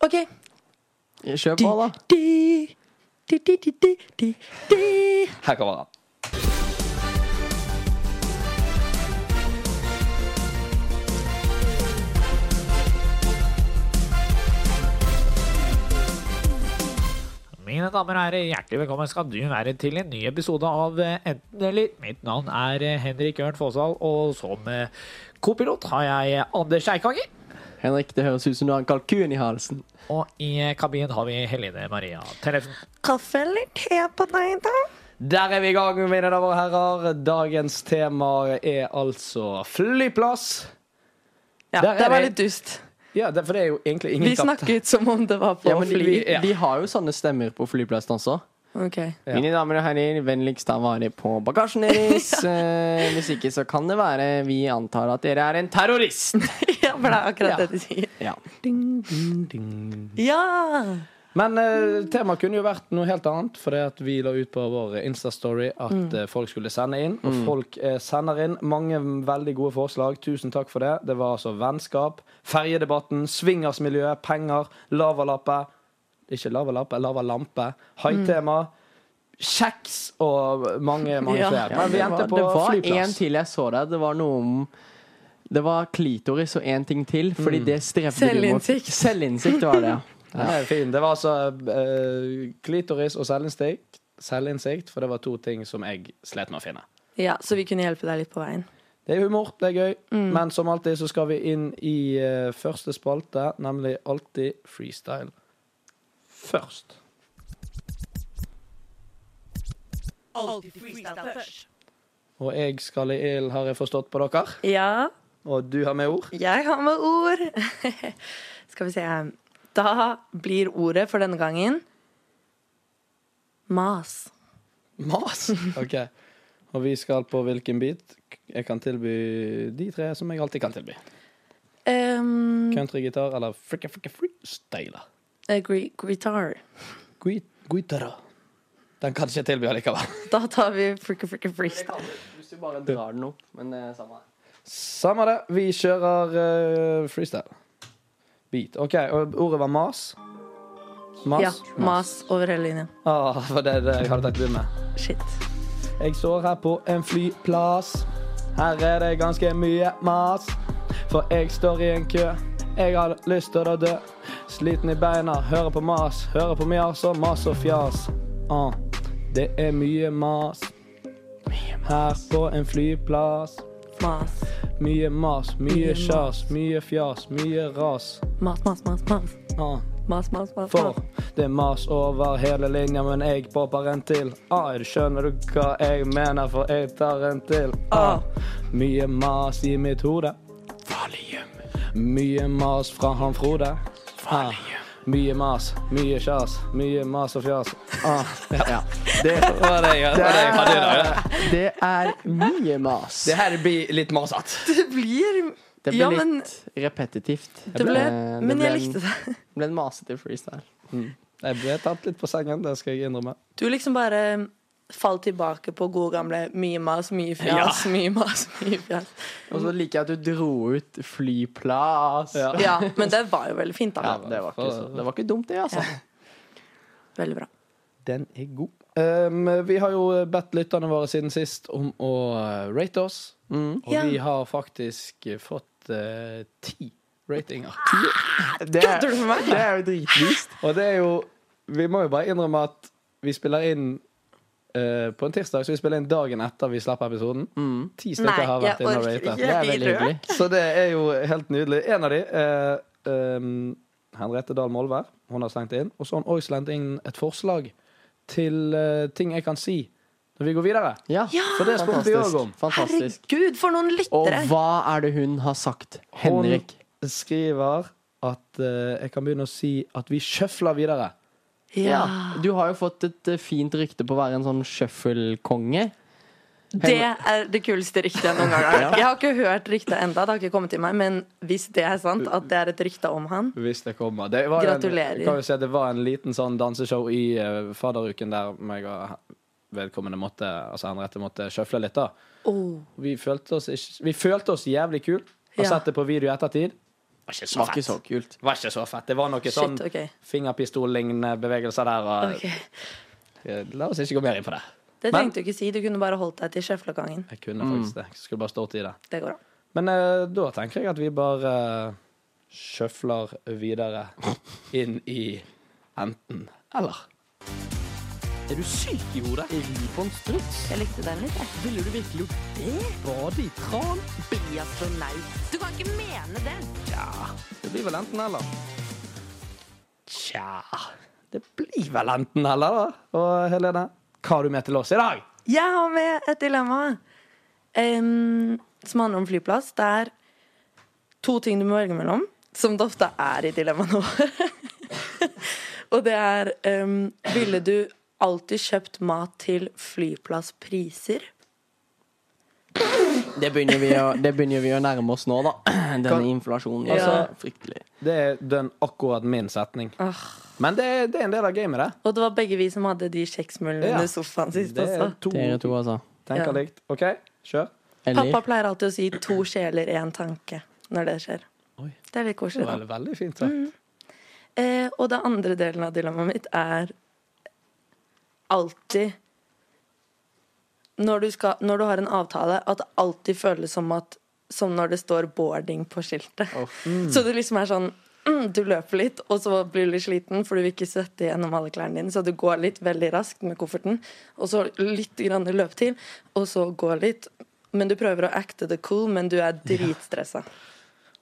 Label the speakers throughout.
Speaker 1: OK.
Speaker 2: Kjør på, da.
Speaker 1: Di, di, di, di, di, di, di.
Speaker 2: Her kommer han.
Speaker 3: Mine damer og herrer, hjertelig velkommen skal du være til en ny episode av eh, Enten eller. Mitt navn er eh, Henrik Ørn Fossdal, og som eh, kopilot har jeg eh, Anders Eikanger.
Speaker 2: Henrik, det høres ut som du har en kalkun i halsen.
Speaker 3: Og i eh, kabinen har vi Helene Maria Tellefsen.
Speaker 1: Kaffe eller te på deg, da?
Speaker 2: Der er vi i gang, mine damer og herrer. Dagens tema er altså flyplass.
Speaker 4: Ja,
Speaker 2: Der er
Speaker 4: det var
Speaker 2: det.
Speaker 4: litt dust.
Speaker 2: Ja, det, for det er jo egentlig ingen
Speaker 4: Vi
Speaker 2: tapt-
Speaker 4: snakket som om det var på
Speaker 2: ja, men de,
Speaker 4: fly.
Speaker 2: vi, de har jo sånne stemmer på flyplassdanser.
Speaker 4: Ok.
Speaker 2: Ja. Mine damer og herrer, vennligst ta vare på bagasjen deres. Eh, Hvis ikke så kan det være vi antar at dere er en terrorist.
Speaker 4: Ja, for det er akkurat
Speaker 2: Ja.
Speaker 4: det de sier.
Speaker 2: Ja.
Speaker 4: Ja!
Speaker 2: Men eh, temaet kunne jo vært noe helt annet, for det at vi la ut på vår Insta-story at eh, folk skulle sende inn. Og folk eh, sender inn mange veldig gode forslag. Tusen takk for det. Det var altså vennskap, ferjedebatten, swingersmiljøet, penger, lavalappe Ikke lavalappe, lavalampe. Haitema. Kjeks og mange, mange
Speaker 4: Ja.
Speaker 2: flere.
Speaker 4: Ja,
Speaker 2: Men vi
Speaker 4: det
Speaker 2: endte
Speaker 4: var-
Speaker 2: på
Speaker 5: det var en
Speaker 2: flyplass.
Speaker 5: til jeg så der. Det var noe om Det var klitoris og én ting til, fordi det strevde
Speaker 4: Selvinnsikt.
Speaker 5: du mot. Selvinnsikt var det, ja.
Speaker 2: Den er fin. Det var altså eh, klitoris og selvinnsikt, selvinnsikt, for det var to ting som jeg slet med å finne.
Speaker 4: ja. Så vi kunne hjelpe deg litt på veien.
Speaker 2: Det er humor, det er gøy. Men som alltid så skal vi inn i eh, første spalte, nemlig alltid freestyle først. Og jeg skal i ild, har jeg forstått på dere.
Speaker 4: Ja,
Speaker 2: Og du har med ord.
Speaker 4: jeg har med ord. Skal vi se. Da blir ordet for denne gangen mas.
Speaker 2: Mas! OK. Og vi skal på hvilken bit? Jeg kan tilby de tre som jeg alltid kan tilby.
Speaker 4: Um,
Speaker 2: Countrygitar eller fricka fricka freestyler.
Speaker 4: eh, gui- guitar.
Speaker 2: Gui- Guitarra. Den kan ikke jeg tilby allikevel.
Speaker 4: Da tar vi fricka fricka freestyle.
Speaker 5: Hvis du bare drar den opp. Men det er samme.
Speaker 2: Samme det. Vi kjører eh, freestyle. Beat. OK, og ordet var mas. Mas.
Speaker 4: Ja, mas over hele linja.
Speaker 2: Ah, for det er det jeg hadde tenkt å begynne med.
Speaker 4: Shit.
Speaker 2: Jeg står her på en flyplass. Her er det ganske mye mas. For jeg står i en kø. Jeg har lyst til å dø. Sliten i beina, hører på mas. Hører på mjas og mas og fjas. Ah, det er mye mas. Her på en flyplass.
Speaker 4: Mas.
Speaker 2: Mye mas, mye
Speaker 4: Mye
Speaker 2: kjas, mye fjas, mye ras.
Speaker 4: Mas, mas, mas, mas.
Speaker 2: Ah.
Speaker 4: Mas, mas, mas.
Speaker 2: For
Speaker 4: mas.
Speaker 2: det er mas over hele linja, men jeg popper en til. Ah, skjønner du hva jeg mener, for jeg tar en til. Ah. Mye mas i mitt hode. Mye mas fra han Frode. Ah. Mye mas, mye kjas, mye mas og fjas. Ah. Ja. Det var det jeg, det var det jeg hadde i dag.
Speaker 5: Det er mye mas.
Speaker 2: Det her blir litt masete.
Speaker 4: Det blir
Speaker 5: Det
Speaker 4: Ja,
Speaker 5: ble
Speaker 4: men-
Speaker 5: litt repetitivt.
Speaker 4: Det ble,
Speaker 5: Eh, det
Speaker 4: men
Speaker 5: ble
Speaker 4: jeg
Speaker 5: en-
Speaker 4: likte det.
Speaker 5: Det ble en masete freestyle.
Speaker 2: Jeg ble tatt litt på sengen, det skal jeg innrømme.
Speaker 4: Du liksom bare falt tilbake på gode gamle mye mas, mye fjas, mye mas, mye fjas.
Speaker 5: Og så liker jeg at du dro ut flyplass.
Speaker 2: Ja.
Speaker 4: Ja, men det var jo veldig fint, da.
Speaker 5: Ja, det, var ikke så, det var ikke dumt, det, altså.
Speaker 4: Veldig bra.
Speaker 2: Den er god. Um, vi har jo bedt lytterne våre siden sist om å eh, rate oss. Og
Speaker 4: Ja.
Speaker 2: vi har faktisk eh, fått eh, ti ratings
Speaker 5: Det er, det er jo dritlyst.
Speaker 2: Og det er jo Vi må jo bare innrømme at vi spiller inn eh, på en tirsdag, så vi spiller inn dagen etter vi slipper episoden. Ti stykker
Speaker 4: Nei,
Speaker 2: har
Speaker 4: jeg
Speaker 2: vært inne og
Speaker 4: orker
Speaker 2: ratet.
Speaker 4: ikke.
Speaker 5: Det er veldig hyggelig.
Speaker 2: Så det er jo helt nydelig. En av de eh, ehm, Henriette Dahl Molvær. Hun har slengt inn. Og så har hun også slengt inn et forslag til eh, ting jeg kan si når vi går videre.
Speaker 5: Ja,
Speaker 2: For det spurte vi også om.
Speaker 5: fantastisk. fantastisk.
Speaker 4: Herregud, for noen
Speaker 5: Og
Speaker 4: lyttere!
Speaker 5: hva er det hun har sagt? Henrik.
Speaker 2: Hun skriver at eh, jeg kan begynne å si at vi sjøfler videre.
Speaker 4: Ja,
Speaker 5: Du har jo fått et eh, fint rykte på å være en sånn sjøffelkonge.
Speaker 4: Det er det kuleste ryktet jeg noen gang har hørt. Jeg har ikke hørt ryktet enda, det har ikke kommet til meg, men hvis det er sant, at det er et rykte om han
Speaker 2: Hvis det kommer. Det var jo En,
Speaker 4: Gratulerer.
Speaker 2: jeg kan jo si at det var en liten sånn danseshow i eh, fadderuken der meg og vedkommende måtte Altså Henriette måtte sjøfle litt, da.
Speaker 4: oh.
Speaker 2: Vi følte oss, ikke, vi følte oss jævlig kul Har
Speaker 4: Ja.
Speaker 2: sett det på video i ettertid. Var ikke så
Speaker 5: Var ikke så
Speaker 2: fett.
Speaker 5: kult.
Speaker 2: Var ikke så fett. Det var noe sånn
Speaker 4: Shit, ok.
Speaker 2: fingerpistol-lignende bevegelser der. Og,
Speaker 4: Ok.
Speaker 2: Eh, La oss ikke gå mer inn på det.
Speaker 4: Det
Speaker 2: Men-
Speaker 4: trengte du ikke si. Du kunne bare holdt deg til sjeflagangen.
Speaker 2: Jeg kunne faktisk det. Skulle bare stått i det.
Speaker 4: Det går an.
Speaker 2: Men eh, da tenker jeg at vi bare uh, sjøfler videre inn i enten eller. Er du syk i hodet?
Speaker 5: Ri på en struts?
Speaker 4: Jeg likte den litt, jeg.
Speaker 5: Ville du virkelig gjort det? Bade i tran?
Speaker 4: Du kan ikke mene det!
Speaker 2: Det blir vel enten eller. Tja Det blir vel enten eller, da. Og Helene, hva har du med til oss i dag?
Speaker 4: Jeg har med et dilemma em, som handler om flyplass. Det er to ting du må velge mellom, som det ofte er i dilemmaene våre. Og det er em, Ville du alltid kjøpt mat til flyplasspriser?
Speaker 5: Det begynner, vi å, det begynner vi å nærme oss nå, da. Denne inflasjonen.
Speaker 4: Ja.
Speaker 5: Altså, fryktelig.
Speaker 2: Det er den akkurat min setning. Men det, er- det er en del av gamet, det.
Speaker 4: Og det var begge vi som hadde de kjekksmullene
Speaker 2: Ja.
Speaker 4: under sofaen sist
Speaker 2: Det er
Speaker 4: også.
Speaker 2: to
Speaker 5: Dere to, altså.
Speaker 2: tenker
Speaker 4: Ja.
Speaker 2: likt. OK, kjør.
Speaker 5: Eller?
Speaker 4: Pappa pleier alltid å si 'to sjeler, én tanke' når det skjer.
Speaker 2: Oi.
Speaker 4: Det er litt
Speaker 2: Det
Speaker 4: koselig. da.
Speaker 2: var veldig fint sagt.
Speaker 4: Eh, og det andre delen av dilemmaet mitt er alltid når du, skal, når du har en avtale, at det alltid føles som at Som når det står 'boarding' på skiltet. Så du liksom er sånn mm, Du løper litt, og så blir du litt sliten, for du vil ikke svette gjennom alle klærne dine. Så du går litt veldig raskt med kofferten, og så litt grann løp til, og så går litt. Men du prøver å acte the cool, men du er dritstressa.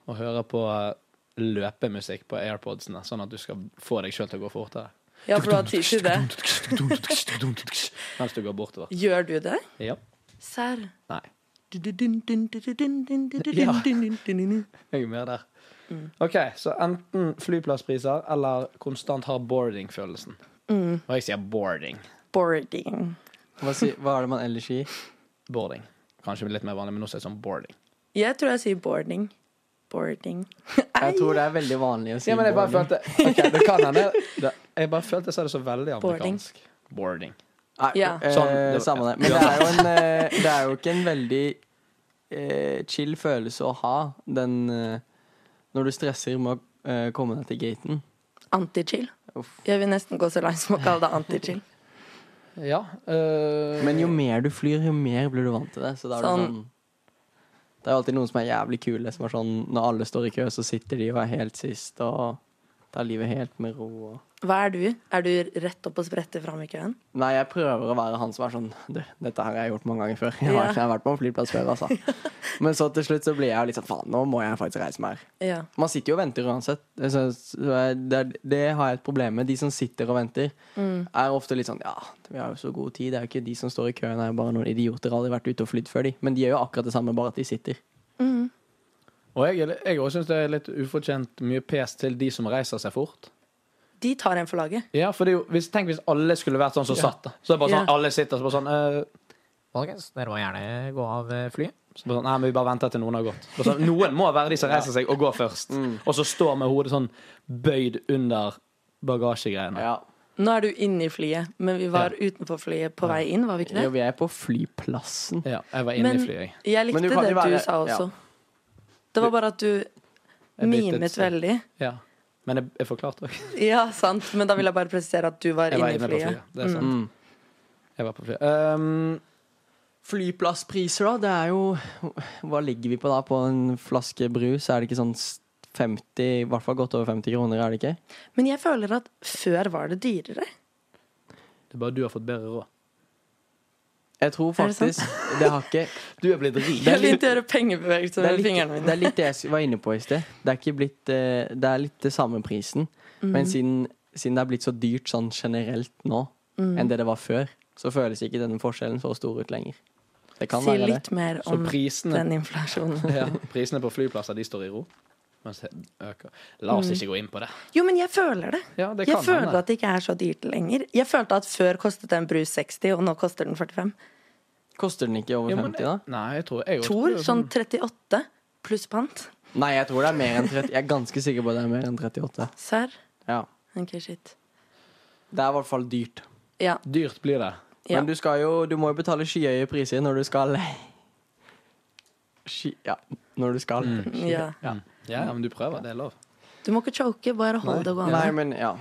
Speaker 2: og høre på eh, løpemusikk på airpodsene, sånn at du skal få deg sjøl til å gå fortere.
Speaker 4: Ja, for du har tid til det.
Speaker 2: Mens du går bortover.
Speaker 4: Gjør du det?
Speaker 2: Ja.
Speaker 4: Serr?
Speaker 2: Nei.
Speaker 4: Ja.
Speaker 2: Jeg er mer der. OK, så enten flyplasspriser eller konstant har boarding-følelsen. Og jeg sier boarding.
Speaker 4: Boarding.
Speaker 5: Hva, si, hva er det man ellers sier?
Speaker 2: Boarding. Kanskje litt mer vanlig, men nå sier jeg sånn boarding.
Speaker 4: Jeg tror jeg sier boarding. Boarding.
Speaker 5: Jeg tror det er veldig vanlig å si
Speaker 2: Ja, men jeg bare
Speaker 5: boarding.
Speaker 2: følte Ok, det kan hende. det- Jeg bare følte jeg sa det så veldig
Speaker 4: Boarding.
Speaker 2: amerikansk. Boarding.
Speaker 5: Nei,
Speaker 4: Ja.
Speaker 5: eh,
Speaker 2: Sånn, det var-
Speaker 5: samme det. Men det er, jo en, eh, det er jo ikke en veldig eh, chill følelse å ha den eh, når du stresser med å eh, komme deg til gaten.
Speaker 4: Anti-chill.
Speaker 5: Uff.
Speaker 4: Jeg vil nesten gå så langt som å kalle det anti-chill.
Speaker 2: Ja. øh,
Speaker 5: Men jo mer du flyr, jo mer blir du vant til det. Så da er
Speaker 4: Sånn.
Speaker 5: det sånn Det er jo alltid noen som er jævlig kule, som er sånn Når alle står i kø, så sitter de og er helt sist og tar livet helt med ro. Og...
Speaker 4: Hva er du? Er du rett opp og spretter fram i køen?
Speaker 5: Nei, jeg prøver å være han som er sånn Du, dette her har jeg gjort mange ganger før. Jeg har,
Speaker 4: Ja.
Speaker 5: jeg har vært på en flyplass før, altså. Men så til slutt så blir jeg jo litt sånn Faen, nå må jeg faktisk reise meg her.
Speaker 4: Ja.
Speaker 5: Man sitter jo og venter uansett. Så, så jeg, det, er- det har jeg et problem med. De som sitter og venter, er ofte litt sånn Ja, vi har jo så god tid. Det er jo ikke de som står i køen, det er jo bare noen idioter. Aldri vært ute og flydd før, de. Men de gjør jo akkurat det samme, bare at de sitter.
Speaker 2: Og jeg, er- jeg òg syns det er litt ufortjent mye pes til de som reiser seg fort.
Speaker 4: De tar en for laget.
Speaker 2: Ja, for det er jo, hvis, Tenk hvis alle skulle vært sånn som satt. da Så det er bare sånn,
Speaker 4: Ja.
Speaker 2: alle sitter så bare sånn, eh,
Speaker 3: Folkens, dere må gjerne gå av eh, flyet.
Speaker 2: så bare sånn Nei, men vi bare venter til noen har gått. Bare Sånn, noen må være de som reiser seg og går først. Og så står med hodet sånn bøyd under bagasjegreiene.
Speaker 5: Ja.
Speaker 4: Nå er du inne i flyet, men vi var utenfor flyet på vei inn, var vi ikke det?
Speaker 5: Jo, vi er på flyplassen.
Speaker 2: Ja, jeg var inne
Speaker 4: Men
Speaker 2: i flyet, jeg.
Speaker 4: jeg
Speaker 5: Men du
Speaker 4: likte
Speaker 5: kan
Speaker 4: det
Speaker 5: jo være-
Speaker 4: du sa også.
Speaker 5: ja.
Speaker 4: Det var bare at du
Speaker 2: Jeg byttet
Speaker 4: mimet
Speaker 2: sted.
Speaker 4: veldig.
Speaker 2: Ja. Men jeg, jeg forklarte òg.
Speaker 4: Ja, sant, men da vil jeg bare presisere at du var
Speaker 2: Jeg
Speaker 4: inne
Speaker 2: var
Speaker 4: i
Speaker 2: inne på
Speaker 4: flyet.
Speaker 2: flyet. Det er sant.
Speaker 5: Mm.
Speaker 2: Jeg var på flyet. Ehm,
Speaker 5: Flyplasspriser, da? Det er jo Hva ligger vi på da? På en flaske brus? Er det ikke sånn s- 50 I hvert fall godt over 50 kroner, er det ikke?
Speaker 4: Men jeg føler at før var det dyrere.
Speaker 2: det er bare du har fått bedre råd.
Speaker 5: Jeg tror
Speaker 4: Er det sant?
Speaker 5: faktisk Det har ikke
Speaker 2: Du er blitt rik.
Speaker 5: Det er
Speaker 4: Jeg
Speaker 5: litt-
Speaker 4: begynte å gjøre pengebevegelser
Speaker 5: det er
Speaker 4: med fingrene
Speaker 5: litt, det
Speaker 4: mine.
Speaker 5: er litt det jeg s- var inne på i sted. Det er ikke blitt eh, Det er litt det samme prisen.
Speaker 4: Mm,
Speaker 5: Men siden, siden det er blitt så dyrt sånn generelt nå
Speaker 4: Mm.
Speaker 5: enn det det var før, så føles ikke denne forskjellen så stor ut lenger. Det kan
Speaker 4: Si
Speaker 5: være det.
Speaker 4: litt mer
Speaker 2: Så
Speaker 4: om
Speaker 2: prisene
Speaker 4: den inflasjonen.
Speaker 2: ja, Prisene på flyplasser, de står i ro. Mens det øker. La oss ikke gå inn på det.
Speaker 4: Jo, men jeg føler det.
Speaker 2: Ja, det
Speaker 4: Jeg
Speaker 2: kan
Speaker 4: føler
Speaker 2: hende.
Speaker 4: at det ikke er så dyrt lenger. Jeg følte at før kostet en brus 60, og nå koster den 45.
Speaker 5: Koster den ikke over
Speaker 2: Ja, men-
Speaker 5: 50, da?
Speaker 2: Nei, jeg tror jeg
Speaker 4: Tor, sånn 38 pluss pant.
Speaker 5: Nei, jeg tror det er mer enn 30. Jeg er ganske sikker på at det er mer enn 38.
Speaker 4: Serr?
Speaker 5: Ja.
Speaker 4: OK, shit.
Speaker 5: Det er i hvert fall dyrt.
Speaker 4: Ja.
Speaker 2: Dyrt blir det.
Speaker 4: ja.
Speaker 5: Men du, skal jo, du må jo betale skyhøye priser når du skal Sky... Ja, når du skal.
Speaker 4: ja.
Speaker 2: Ja. Mm. Ja, ja, men du prøver. Det er lov.
Speaker 4: Du må ikke choke, bare hold det gående.
Speaker 5: Nei, men ja.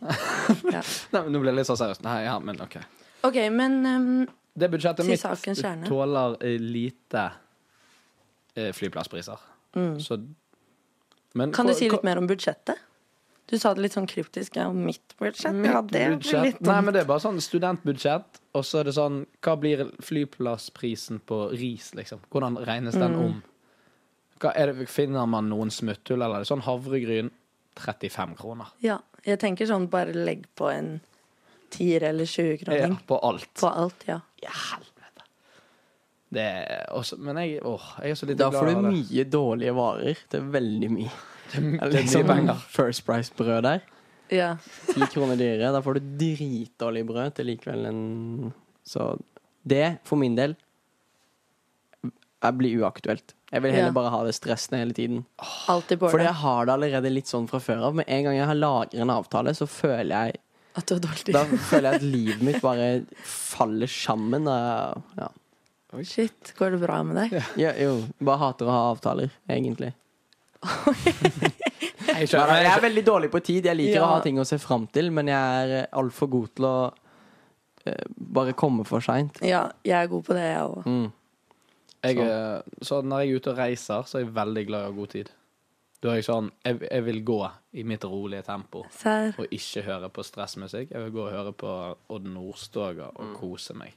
Speaker 4: Ja.
Speaker 2: Nei, men Nå ble jeg litt så seriøs. Nei, ja, men OK.
Speaker 4: OK, men ehm,
Speaker 2: Det budsjettet
Speaker 4: Til
Speaker 2: mitt
Speaker 4: sakens kjerne.
Speaker 2: tåler eh, lite eh, flyplasspriser. Så men,
Speaker 4: Mm. kan du si
Speaker 2: hva-
Speaker 4: litt mer om budsjettet? Du sa det litt sånn kryptisk. Ja, mitt budsjett? Ja, det blir
Speaker 2: budsjett.
Speaker 4: litt
Speaker 2: Nei,
Speaker 4: dumt.
Speaker 2: men det er bare sånn studentbudsjett, og så er det sånn Hva blir flyplassprisen på ris, liksom? Hvordan regnes den
Speaker 4: Mm.
Speaker 2: om? Hva er det, finner man noen smutthull, eller er det sånn havregryn 35 kroner?
Speaker 4: Ja, jeg tenker sånn bare legg på en tier eller 20
Speaker 2: Ja,
Speaker 4: kroning
Speaker 2: på alt.
Speaker 4: på alt, ja.
Speaker 2: Ja, helvete. Det er også Men jeg, åh, jeg er så litt
Speaker 5: Da får
Speaker 2: glad
Speaker 5: du
Speaker 2: i det.
Speaker 5: mye dårlige varer. Det er veldig mye. Det er
Speaker 2: det er mye penger.
Speaker 5: First Price-brød der.
Speaker 4: ja.
Speaker 5: Ti kroner dyrere. Da får du dritdårlig brød til likevel en Så det, for min del, er- blir uaktuelt. Jeg vil heller
Speaker 4: Ja.
Speaker 5: bare ha det stressende hele tiden.
Speaker 4: Alltid
Speaker 5: Fordi
Speaker 4: bordet.
Speaker 5: jeg har det allerede litt sånn fra før av. Med en gang jeg har lager en avtale, så føler jeg
Speaker 4: At du har dårlig
Speaker 5: Da
Speaker 4: tid.
Speaker 5: føler jeg at livet mitt bare faller sammen. og- Ja.
Speaker 4: Shit, går det bra med deg?
Speaker 5: Ja, jo, bare hater å ha avtaler, egentlig.
Speaker 2: Jeg
Speaker 5: Nei,
Speaker 2: skjønner,
Speaker 5: nei, jeg er veldig dårlig på tid. Jeg liker
Speaker 4: Ja.
Speaker 5: å ha ting å se fram til, men jeg er altfor god til å eh, bare komme for seint.
Speaker 4: Ja, jeg er god på det, jeg òg.
Speaker 5: Mm.
Speaker 2: Jeg, eh, så når jeg er ute og reiser, så er jeg veldig glad i å ha god tid. Da er jeg sånn jeg, jeg vil gå i mitt rolige tempo
Speaker 4: Serr.
Speaker 2: og ikke høre på stressmusikk. Jeg vil gå og høre på Odd Nordstoga og kose meg.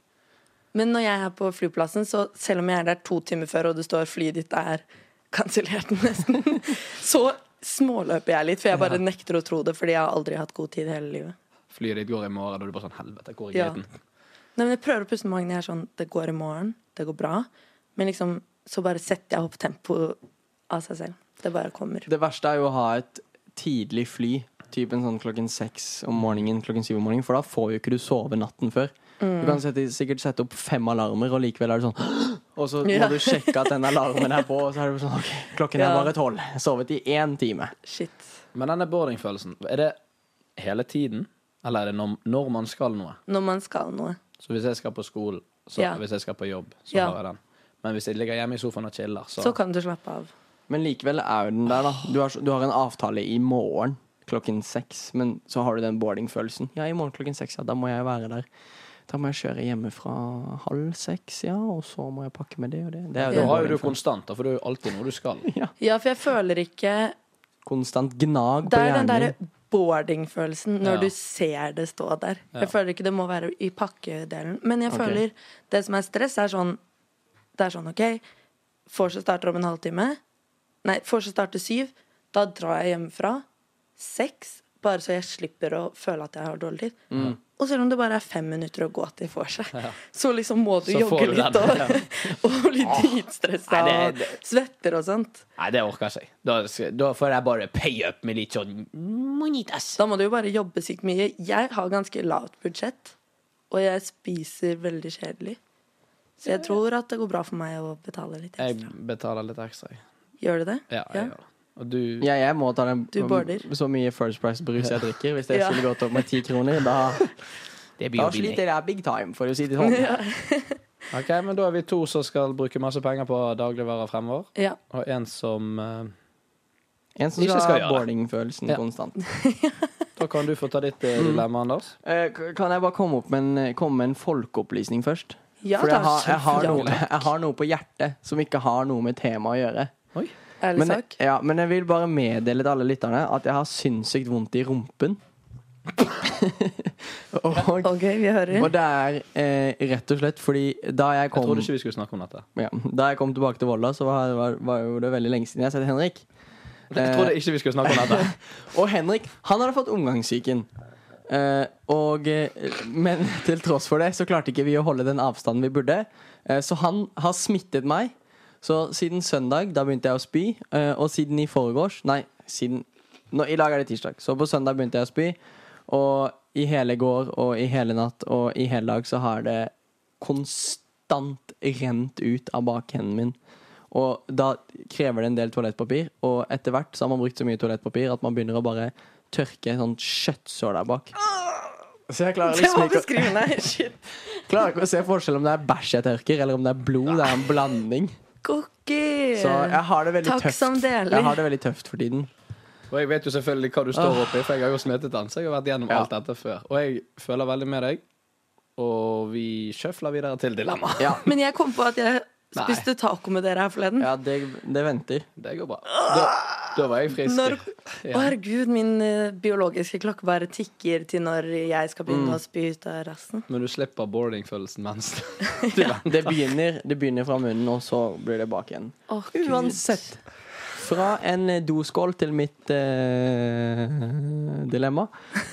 Speaker 4: Men når jeg er på flyplassen, så selv om jeg er der to timer før, og det står flyet ditt er kansellert nesten, så småløper jeg litt. For jeg bare nekter å tro det, fordi jeg har aldri hatt god tid i hele livet.
Speaker 2: Flyet ditt går i morgen, da er du bare sånn Helvete, hvor er
Speaker 4: Ja.
Speaker 2: gaten?
Speaker 4: Nei, men jeg prøver å puste med magen. Jeg er sånn Det går i morgen. Det går bra. Men liksom, så bare setter jeg opp tempoet av seg selv. Det bare kommer.
Speaker 5: Det verste er jo å ha et tidlig fly, typen sånn klokken seks om morgenen, klokken syv om morgenen, for da får jo ikke du sove natten før. Du kan sette, sikkert sette opp fem alarmer, og likevel er det sånn Og så må
Speaker 4: Ja.
Speaker 5: du sjekke at den alarmen er på, og så er det sånn OK, klokken er
Speaker 4: Ja.
Speaker 5: bare tolv. Jeg har Sovet i én time.
Speaker 4: Shit.
Speaker 2: Men denne boardingfølelsen, er det hele tiden? Eller er det når, når man skal noe?
Speaker 4: Når man skal noe.
Speaker 2: Så hvis jeg skal på skolen, så
Speaker 4: Ja.
Speaker 2: hvis jeg skal på jobb, så
Speaker 4: Ja.
Speaker 2: har jeg den. Men hvis jeg ligger hjemme i sofaen og chiller, så,
Speaker 4: Så kan du slappe av.
Speaker 5: Men likevel er jo den der, da. Du har, du har en avtale i morgen klokken seks, men så har du den boarding-følelsen. Ja, i morgen klokken seks, ja, da må jeg være der. Da må jeg kjøre hjemmefra halv seks, ja, og så må jeg pakke med det og det. Det er
Speaker 2: Da
Speaker 5: den
Speaker 2: har jo du
Speaker 5: boarding-følelsen.
Speaker 2: konstant, da, for det er jo alltid noe du skal.
Speaker 4: Ja, for jeg føler ikke
Speaker 5: konstant gnag
Speaker 4: Det
Speaker 5: på
Speaker 4: er den
Speaker 5: hjernen.
Speaker 4: derre boarding-følelsen når
Speaker 2: Ja.
Speaker 4: du ser det stå der.
Speaker 2: Ja.
Speaker 4: Jeg føler ikke det må være i pakkedelen. Men jeg
Speaker 5: Ok.
Speaker 4: føler det som er stress, er sånn Det er sånn, OK, vorset starter om en halvtime. Nei, vorset starter syv. Da drar jeg hjemmefra. Seks. Bare så jeg slipper å føle at jeg har dårlig tid.
Speaker 2: Mm.
Speaker 4: Og selv om det bare er fem minutter å gå til vorset, så liksom må du
Speaker 2: Så får
Speaker 4: jogge
Speaker 2: du
Speaker 4: litt
Speaker 2: den.
Speaker 4: og, og bli dritstressa
Speaker 2: Nei,
Speaker 4: og
Speaker 2: det-
Speaker 4: svetter og sånt.
Speaker 2: Nei, det orker ikke jeg. Da, skal- da får jeg bare pay up med litt sånn monitas.
Speaker 4: Da må du jo bare jobbe sykt mye. Jeg har ganske lavt budsjett, og jeg spiser veldig kjedelig. Så jeg tror at det går bra for meg å betale litt
Speaker 2: Jeg
Speaker 4: ekstra.
Speaker 2: betaler litt ekstra. jeg.
Speaker 4: Gjør du det?
Speaker 2: Ja, jeg gjør det. Og du
Speaker 5: Ja, jeg må ta den
Speaker 4: Du border.
Speaker 5: så mye First Price-brus jeg drikker. Hvis det
Speaker 4: Ja.
Speaker 5: skulle gått opp med ti kroner, da,
Speaker 2: Det
Speaker 5: da sliter jeg big time, for å si det sånn.
Speaker 2: Ok, men da er vi to som skal bruke masse penger på dagligvarer fremover.
Speaker 4: Ja.
Speaker 2: Og en som eh,
Speaker 5: En som
Speaker 2: Ikke
Speaker 5: skal
Speaker 2: skal
Speaker 5: ha
Speaker 2: gjøre.
Speaker 5: boarding-følelsen
Speaker 2: Ja.
Speaker 5: konstant.
Speaker 2: Da kan du få ta ditt eh, dilemma, Anders.
Speaker 5: Eh, k- Kan jeg bare komme, opp med en, komme med en folkeopplysning først?
Speaker 4: Ja,
Speaker 5: For
Speaker 4: da,
Speaker 5: jeg har, jeg, har
Speaker 4: kjempe-
Speaker 5: noe, jeg har noe på hjertet som ikke har noe med temaet å gjøre.
Speaker 4: Ærlig
Speaker 5: Men,
Speaker 4: sak.
Speaker 5: ja, men jeg vil bare meddele til alle lytterne at jeg har sinnssykt vondt i rumpen. og,
Speaker 4: OK, vi
Speaker 5: og
Speaker 4: hører.
Speaker 5: det er eh, rett og slett fordi da jeg
Speaker 2: Jeg
Speaker 5: kom
Speaker 2: trodde ikke vi skulle snakke om dette.
Speaker 5: ja, Da jeg kom tilbake til Volda, så var, var, var jo det veldig lenge siden jeg har sett Henrik.
Speaker 2: Jeg trodde ikke vi skulle snakke om dette.
Speaker 5: Og Henrik, han hadde fått omgangssyken. Eh, og, eh, men til tross for det så klarte ikke vi å holde den avstanden vi burde. Eh, så han har smittet meg. Så siden søndag, da begynte jeg å spy. eh, og siden i forgårs Nei, siden nå, I dag er det tirsdag, så på søndag begynte jeg å spy. Og i hele går og i hele natt og i hele dag så har det konstant rent ut av bakhenden min. Og da krever det en del toalettpapir, og etter hvert så har man brukt så mye toalettpapir at man begynner å bare tørke sånn kjøttsår der bak. Så jeg klarer
Speaker 4: Det
Speaker 5: liksom
Speaker 4: var
Speaker 5: ikke, å-
Speaker 4: beskrivende. Shit.
Speaker 5: klarer ikke å se forskjell om det er bæsj jeg tørker, eller om det er blod. Det er en blanding.
Speaker 4: Cookie!
Speaker 5: Så jeg har det veldig
Speaker 4: Takk
Speaker 5: tøft.
Speaker 4: som deler.
Speaker 5: Jeg har det veldig tøft for tiden.
Speaker 2: Og jeg vet jo selvfølgelig hva du står oppi, for jeg har jo smittet den. Så jeg har vært gjennom
Speaker 5: Ja.
Speaker 2: alt dette før. Og jeg føler veldig med deg. Og vi sjøfler videre til dilemma.
Speaker 5: Ja,
Speaker 4: Men jeg kom på at jeg spiste taco med dere her forleden.
Speaker 5: ja det, det venter.
Speaker 2: Det går bra. Da, da var jeg frisk.
Speaker 4: Når- Å,
Speaker 2: Ja.
Speaker 4: herregud, min eh, biologiske klokke bare tikker til når jeg skal begynne
Speaker 5: Mm.
Speaker 4: å spy ut av rassen.
Speaker 2: Men du slipper boardingfølelsen mens.
Speaker 5: Det begynner, det begynner fra munnen, og så blir det bak igjen.
Speaker 4: Å, Gud.
Speaker 5: Uansett. Fra en eh, doskål til mitt eh, dilemma.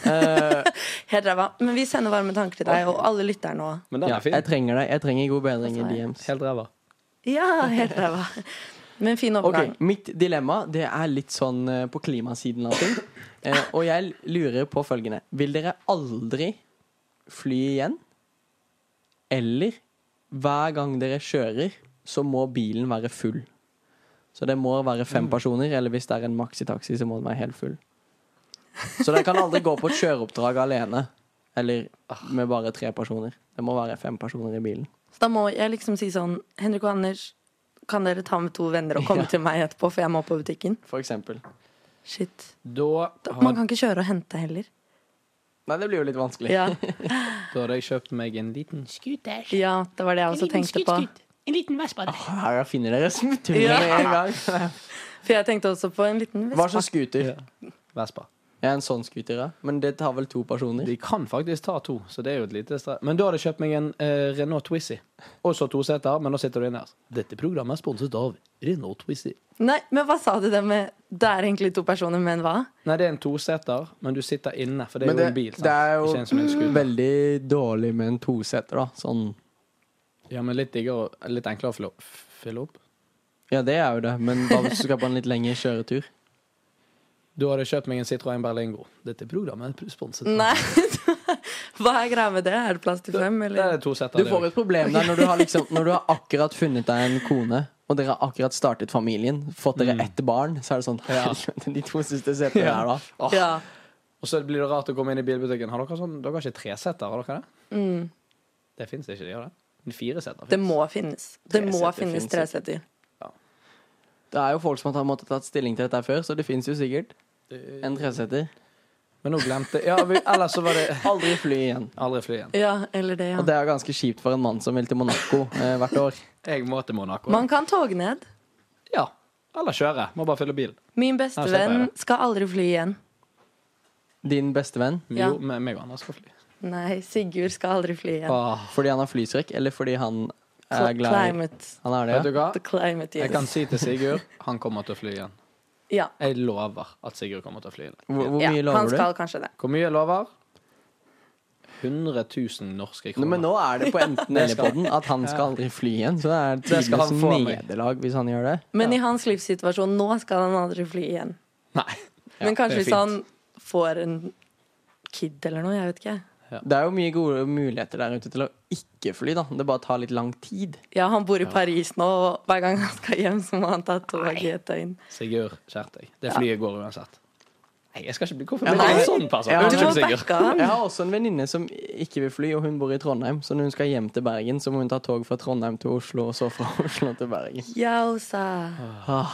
Speaker 5: Eh,
Speaker 4: Helt ræva. Men vi sender varme tanker til deg og alle lytterne òg.
Speaker 2: Men den
Speaker 5: ja,
Speaker 2: er fin.
Speaker 5: jeg trenger deg. Jeg trenger god bedring i DMs.
Speaker 2: Helt ræva.
Speaker 4: Ja, helt ræva. Men fin overgang.
Speaker 5: Ok, Mitt dilemma det er litt sånn eh, på klimasiden av ting. Eh, og jeg lurer på følgende. Vil dere aldri fly igjen? Eller hver gang dere kjører, så må bilen være full? Så det må være fem personer, eller hvis det er en maks i taxi, så må den være helt full. Så dere kan aldri gå på et kjøreoppdrag alene. Eller med bare tre personer. Det må være fem personer i bilen.
Speaker 4: Så da må jeg liksom si sånn Henrik og Anders, kan dere ta med to venner og komme til meg etterpå, for jeg må på butikken?
Speaker 5: For eksempel.
Speaker 4: Shit.
Speaker 2: Da
Speaker 4: Da, man
Speaker 2: hadde
Speaker 4: kan ikke kjøre og hente heller.
Speaker 5: Nei, det blir jo litt vanskelig.
Speaker 4: Ja,
Speaker 2: da hadde jeg kjøpt meg en liten scooter.
Speaker 4: ja det var det jeg også tenkte på.
Speaker 1: En liten vespa. der.
Speaker 5: Her finner dere smutthullene
Speaker 4: Ja.
Speaker 5: med en gang.
Speaker 4: For jeg tenkte også på en liten
Speaker 5: Hva slags
Speaker 4: vespa.
Speaker 5: scooter?
Speaker 2: Ja. Vespa.
Speaker 5: Ja, en sånn scooter, ja. Men det tar vel to personer?
Speaker 2: De kan faktisk ta to, så det er jo et lite stre- Men da hadde jeg kjøpt meg en eh, Renault Twizy. Også to seter, men nå sitter du inne her. Dette programmet er sponset av Renault Twizy.
Speaker 4: Nei, men hva sa du det med Det er egentlig to personer, men hva?
Speaker 2: Nei, det er en toseter, men du sitter inne, for det er
Speaker 5: Men
Speaker 2: jo en bil. Sant?
Speaker 5: det er
Speaker 2: Ikke en som en
Speaker 5: jo
Speaker 2: scooter.
Speaker 5: veldig dårlig med en toseter, da. Sånn.
Speaker 2: Ja, men litt diggere og litt enklere å fylle opp. fylle opp.
Speaker 5: Ja, det er jo det, men hva hvis du skal på en litt lengre kjøretur?
Speaker 2: Da hadde jeg kjøpt meg en Citroën Berlingo. Dette programmet er sponset. av-
Speaker 4: Nei, hva er greia med det? Er det plass til fem,
Speaker 2: Det
Speaker 4: eller?
Speaker 2: er to seter.
Speaker 5: Du
Speaker 2: det
Speaker 5: får
Speaker 2: også.
Speaker 5: et problem der når du har, liksom, når du har akkurat funnet deg en kone, og dere har akkurat startet familien, fått dere ett barn, så er det sånn
Speaker 2: Ja.
Speaker 5: helvete, De to siste setene
Speaker 2: Ja.
Speaker 5: her, da.
Speaker 2: Åh,
Speaker 4: Ja.
Speaker 2: Og så blir det rart å komme inn i bilbutikken. Har dere sånn, dere har ikke treseter, har dere det?
Speaker 4: Mm.
Speaker 2: Det fins ikke, de har det. Men Fireseter
Speaker 4: Det
Speaker 2: finnes.
Speaker 4: må finnes. Det må
Speaker 5: Tresetter
Speaker 4: finnes
Speaker 5: finnes
Speaker 4: tresetter.
Speaker 5: Det er jo folk som har måttet tatt stilling til dette før, så det fins jo sikkert en treseter.
Speaker 2: Men nå glemte Ja, vi, ellers så var det
Speaker 5: Aldri fly igjen.
Speaker 2: Aldri fly igjen.
Speaker 4: Ja, eller det, ja.
Speaker 5: Og det er jo ganske kjipt for en mann som vil til Monaco eh, hvert år.
Speaker 2: Jeg må til Monaco.
Speaker 4: Man kan toge ned.
Speaker 2: Ja. Eller kjøre. Må bare fylle bilen.
Speaker 4: Min
Speaker 2: Her slipper jeg
Speaker 4: bestevenn skal aldri fly igjen.
Speaker 5: Din bestevenn.
Speaker 2: Jo,
Speaker 4: Ja.
Speaker 2: men meg og Anders skal fly.
Speaker 4: Nei, Sigurd skal aldri fly igjen.
Speaker 2: Åh,
Speaker 5: Fordi han har flyskrekk, eller fordi han er
Speaker 4: Cl-
Speaker 5: glad i
Speaker 4: Climate.
Speaker 5: Han er
Speaker 2: vet
Speaker 5: det,
Speaker 2: du hva?
Speaker 4: The climate
Speaker 2: Jeg
Speaker 4: yes.
Speaker 2: kan si til Sigurd han kommer til å fly igjen.
Speaker 4: Ja.
Speaker 2: Jeg lover at Sigurd kommer til å fly
Speaker 5: ja.
Speaker 2: igjen.
Speaker 5: Hvor, hvor
Speaker 4: ja.
Speaker 5: mye
Speaker 4: Han
Speaker 5: lover du?
Speaker 4: skal kanskje det.
Speaker 2: Hvor mye jeg lover? 100 000 norske
Speaker 5: Nå, men
Speaker 2: kroner.
Speaker 5: nå er det på enten eller podden at han skal aldri fly igjen. Så det er
Speaker 2: Det skal
Speaker 5: tidligst
Speaker 2: han få av meg.
Speaker 5: nederlag hvis han gjør det.
Speaker 4: Men i hans livssituasjon nå skal han aldri fly igjen.
Speaker 2: Nei.
Speaker 4: Men kanskje
Speaker 2: det er
Speaker 4: hvis han får en kid eller noe, jeg vet ikke.
Speaker 5: Det er jo mye gode muligheter der ute til å ikke fly, da. Det bare tar litt lang tid.
Speaker 4: Ja, han bor i Paris nå, og hver gang han skal hjem, så må han ta toget i et døgn.
Speaker 2: Sigurd, skjerp deg. Det flyet går uansett. Nei, jeg skal ikke bli Hvorfor
Speaker 5: Ja,
Speaker 2: blir jeg
Speaker 5: nei.
Speaker 2: en sånn person?
Speaker 5: Ja.
Speaker 4: Du må
Speaker 2: Unnskyld, Sigurd.
Speaker 4: backe han.
Speaker 5: Jeg har også en venninne som ikke vil fly, og hun bor i Trondheim. Så når hun skal hjem til Bergen, så må hun ta tog fra Trondheim til Oslo, og så fra Oslo til Bergen.
Speaker 4: Jausa.
Speaker 5: Ah.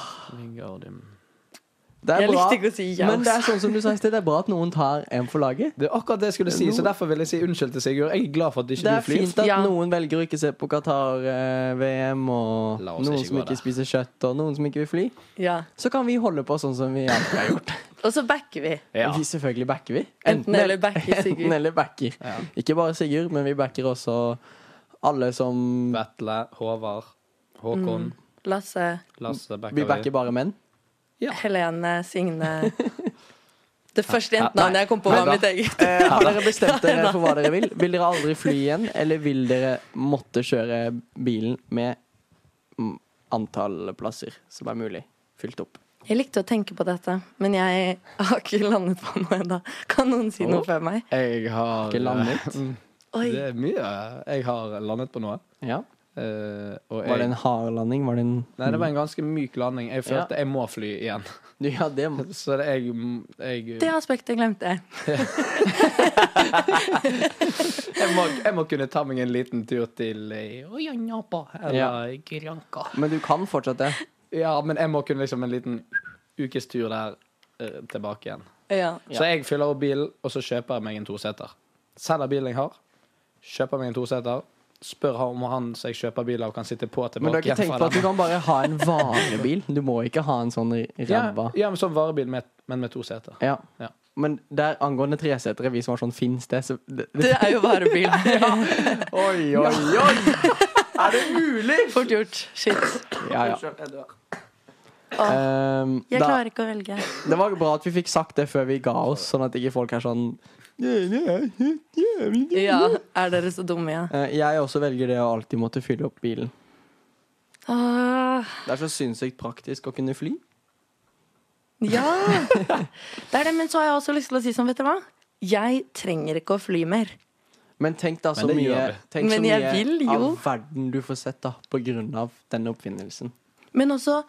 Speaker 5: Det er
Speaker 4: altså. Jeg
Speaker 5: bra.
Speaker 4: likte ikke å si
Speaker 5: Men det
Speaker 4: jausa.
Speaker 5: er sånn som du sa i sted, det er bra at noen tar en for laget.
Speaker 2: Det er akkurat det jeg skulle si, så derfor vil jeg si unnskyld til Sigurd. Jeg er glad for at ikke
Speaker 5: Det er
Speaker 2: du flyr.
Speaker 5: fint at
Speaker 4: Ja.
Speaker 5: noen velger å ikke se på Qatar-VM, og
Speaker 2: La oss
Speaker 5: noen
Speaker 2: ikke
Speaker 5: som
Speaker 2: gå
Speaker 5: ikke
Speaker 2: der.
Speaker 5: spiser kjøtt, og noen som ikke vil fly.
Speaker 4: Ja.
Speaker 5: Så kan vi holde på sånn som vi alltid har gjort.
Speaker 4: Og så backer vi.
Speaker 2: Ja.
Speaker 5: Vi selvfølgelig backer vi.
Speaker 4: Enten eller backer
Speaker 5: Enten
Speaker 4: Sigurd.
Speaker 5: eller backer. Ikke bare Sigurd, men vi backer også alle som
Speaker 2: Vetle, Håvard, Håkon,
Speaker 4: Lasse,
Speaker 2: Lasse Mm. backer
Speaker 5: Vi backer bare menn.
Speaker 4: Helene, Signe. Det første
Speaker 2: Nei,
Speaker 4: jentenavnet jeg kom på, var
Speaker 2: da.
Speaker 4: mitt eget.
Speaker 5: Eh, har dere bestemt dere for hva dere vil? Vil dere aldri fly igjen, eller vil dere måtte kjøre bilen med mm, antall plasser som er mulig fylt opp?
Speaker 4: Jeg likte å tenke på dette, men jeg har ikke landet på noe ennå. Kan noen si noe
Speaker 2: Åh.
Speaker 4: før meg?
Speaker 2: Jeg har
Speaker 5: Ikke landet?
Speaker 2: Mm,
Speaker 4: Oi.
Speaker 2: Det er mye. Jeg har landet på noe.
Speaker 5: Ja.
Speaker 2: Eh, og jeg,
Speaker 5: Var det en hard landing? Var det en
Speaker 2: Nei, det var en ganske myk landing. Jeg
Speaker 5: Ja.
Speaker 2: følte jeg må fly igjen.
Speaker 5: Ja, det må
Speaker 2: Så det, jeg, jeg,
Speaker 4: Det aspektet glemte jeg.
Speaker 2: jeg, må, jeg må kunne ta meg en liten tur til eh, Oyanapa eller Sri Lanka.
Speaker 5: Men du kan fortsatt det.
Speaker 2: Ja, men jeg må kunne liksom en liten ukes tur der eh, tilbake igjen.
Speaker 4: Ja.
Speaker 5: Ja.
Speaker 2: Så jeg fyller opp bilen, og så kjøper jeg meg en toseter. Selger bilen jeg har, kjøper meg en toseter, spør han om han så jeg kjøper bil av, kan sitte på
Speaker 5: Men du har
Speaker 2: tilbake
Speaker 5: ikke tenkt på at du kan bare ha en varebil? Du må ikke ha en sånn
Speaker 2: ja,
Speaker 5: ræva.
Speaker 2: ja, men sånn varebil, med, men med to seter.
Speaker 5: Ja.
Speaker 2: Ja.
Speaker 5: Men der angående tresetere, vi som var sånn fins det, så det,
Speaker 4: Det er jo varebil.
Speaker 5: Oi, oi, oi! Er det mulig?!
Speaker 4: Fort gjort. Shit.
Speaker 5: Ja, ja.
Speaker 2: Eh,
Speaker 5: Ehm,
Speaker 4: Jeg
Speaker 5: da,
Speaker 4: klarer ikke å velge.
Speaker 5: det var bra at vi fikk sagt det før vi ga oss, sånn at ikke folk er sånn «Nei, det er helt jævlig dyrt».
Speaker 4: Ja, er dere så dumme, ja?
Speaker 5: Eh, Jeg også velger det å alltid måtte fylle opp bilen.
Speaker 4: Ah,
Speaker 5: Det er så sinnssykt praktisk å kunne fly.
Speaker 4: ja. Det er det, men så har jeg også lyst til å si sånn, vet dere hva? Jeg trenger ikke å fly mer.
Speaker 5: Men tenk da så
Speaker 2: det gjør
Speaker 5: mye,
Speaker 2: vi.
Speaker 5: tenk så
Speaker 4: Men jeg
Speaker 5: mye
Speaker 4: vil jo.
Speaker 5: av verden du får sett da på grunn av denne oppfinnelsen.
Speaker 4: Men også,